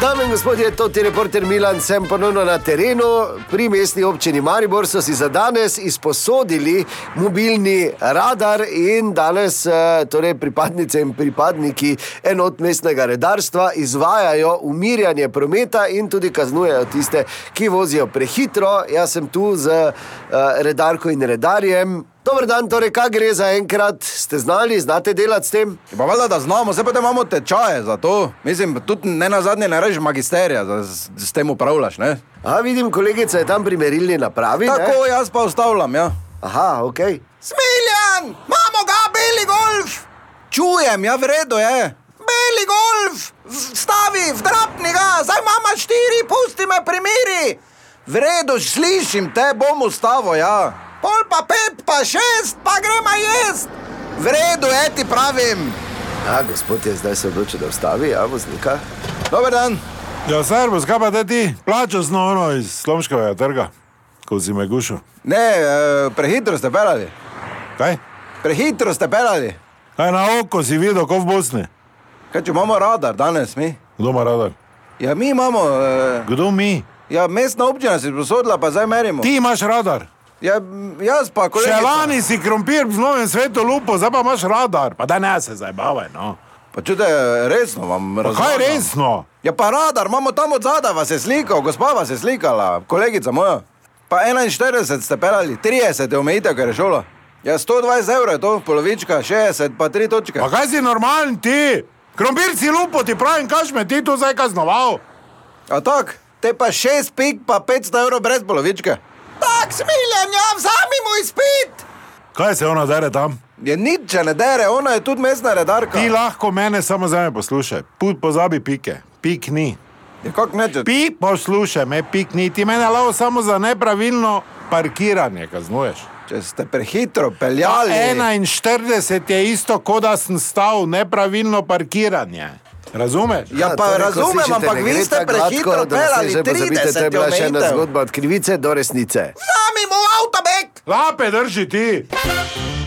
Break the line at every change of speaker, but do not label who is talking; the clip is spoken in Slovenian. Dame in gospodje, to je reporter Milan, sem ponovno na terenu. Pri mestni občini Maribor so si za danes izposodili mobilni radar in danes eh, torej pripadnice in pripadniki enot mestnega redarstva izvajajo umirjanje prometa in tudi kaznujejo tiste, ki vozijo prehitro. Jaz sem tu z eh, redarko in redarjem. Dober dan, torej kaj gre za enkrat, ste znali, znate delati s tem?
Ja, Pa valjda, da znamo, zdaj pa da imamo tečaje za to. Mislim, tudi ne na zadnje ne rečeš magisterija, da s, s tem upravljaš. Ne?
A vidim, kolegica je tam pri merilni napravi. ne?
Tako jaz pa ustavljam, ja.
Aha, okej.
Smiljan, imamo ga, beli golf! Čujem, ja, vredno je. Beli golf, v- stavi, vdrapni ga, zdaj mama štiri, pusti me pri miri. Vredno, slišim te, bom ustavo, ja. Pol pa pet, pa šest, pa gremo jesti. Vredno je, ti pravim.
A, gospod je zdaj se odločil, da ustavi, a Ja, voznika.
Dober dan.
Ja, servus, kaj pa te ti? Plačo znovno iz Slomškovega trga, ko si me gušil.
Ne, eh, prehitro ste pelali.
Kaj?
Prehitro ste pelali.
Kaj na oko si videl, ko v Bosni?
Kaj če imamo radar danes mi?
Kdo ima radar?
Ja, mi imamo, eh,
Kdo mi?
ja, mestna občina se je posodila, pa zdaj merimo.
Ti imaš radar.
Ja, m, jaz pa, ko
Še lani si krompir v novem svetu lupo, zdaj pa imaš radar. Pa da ne se zabavaj, no.
Pa čute, resno vam
Pa
razumem.
kaj resno?
Ja, pa radar, imamo tam od zadaj, vas je slikal, gospa vas je slikala, kolegica moja. Pa 41 ste pelali, 30 je omejitev, ker je šola. Ja, 120 evrov je to, polovička, 60 pa 3 točke.
Pa kaj si normalen ti? Krompir si lupo, ti pravim, kaš me ti tu zdaj kaznoval.
A tak, te pa 6 pik pa 500 evrov brez polovičke. Tak, smiljen, ja, vzami mu izpit!
Kaj se ona dere tam?
Je nič, če ne dere, ona je tudi mestna redarka.
Ti lahko mene samo zdaj poslušaj. Put pozabi pike. Pik ni.
Ja, kako neče?
Pi, poslušaj me, pik ni ti mene lavo samo za nepravilno parkiranje, kaznuješ.
Če ste prehitro peljali.
Ja, 41 je isto, kot da sem stal nepravilno parkiranje. Razumeš?
Ja, pa
torej, ko
razumem,
slišite,
ampak
ne gre
vi ste
tako
prehitro
gladko, da nas
peljali
ne že pozabite,
30
To je bila še ena
omejitev.
zgodba od krivice do resnice.
Vzami mu avtobek!
Lape drži ti.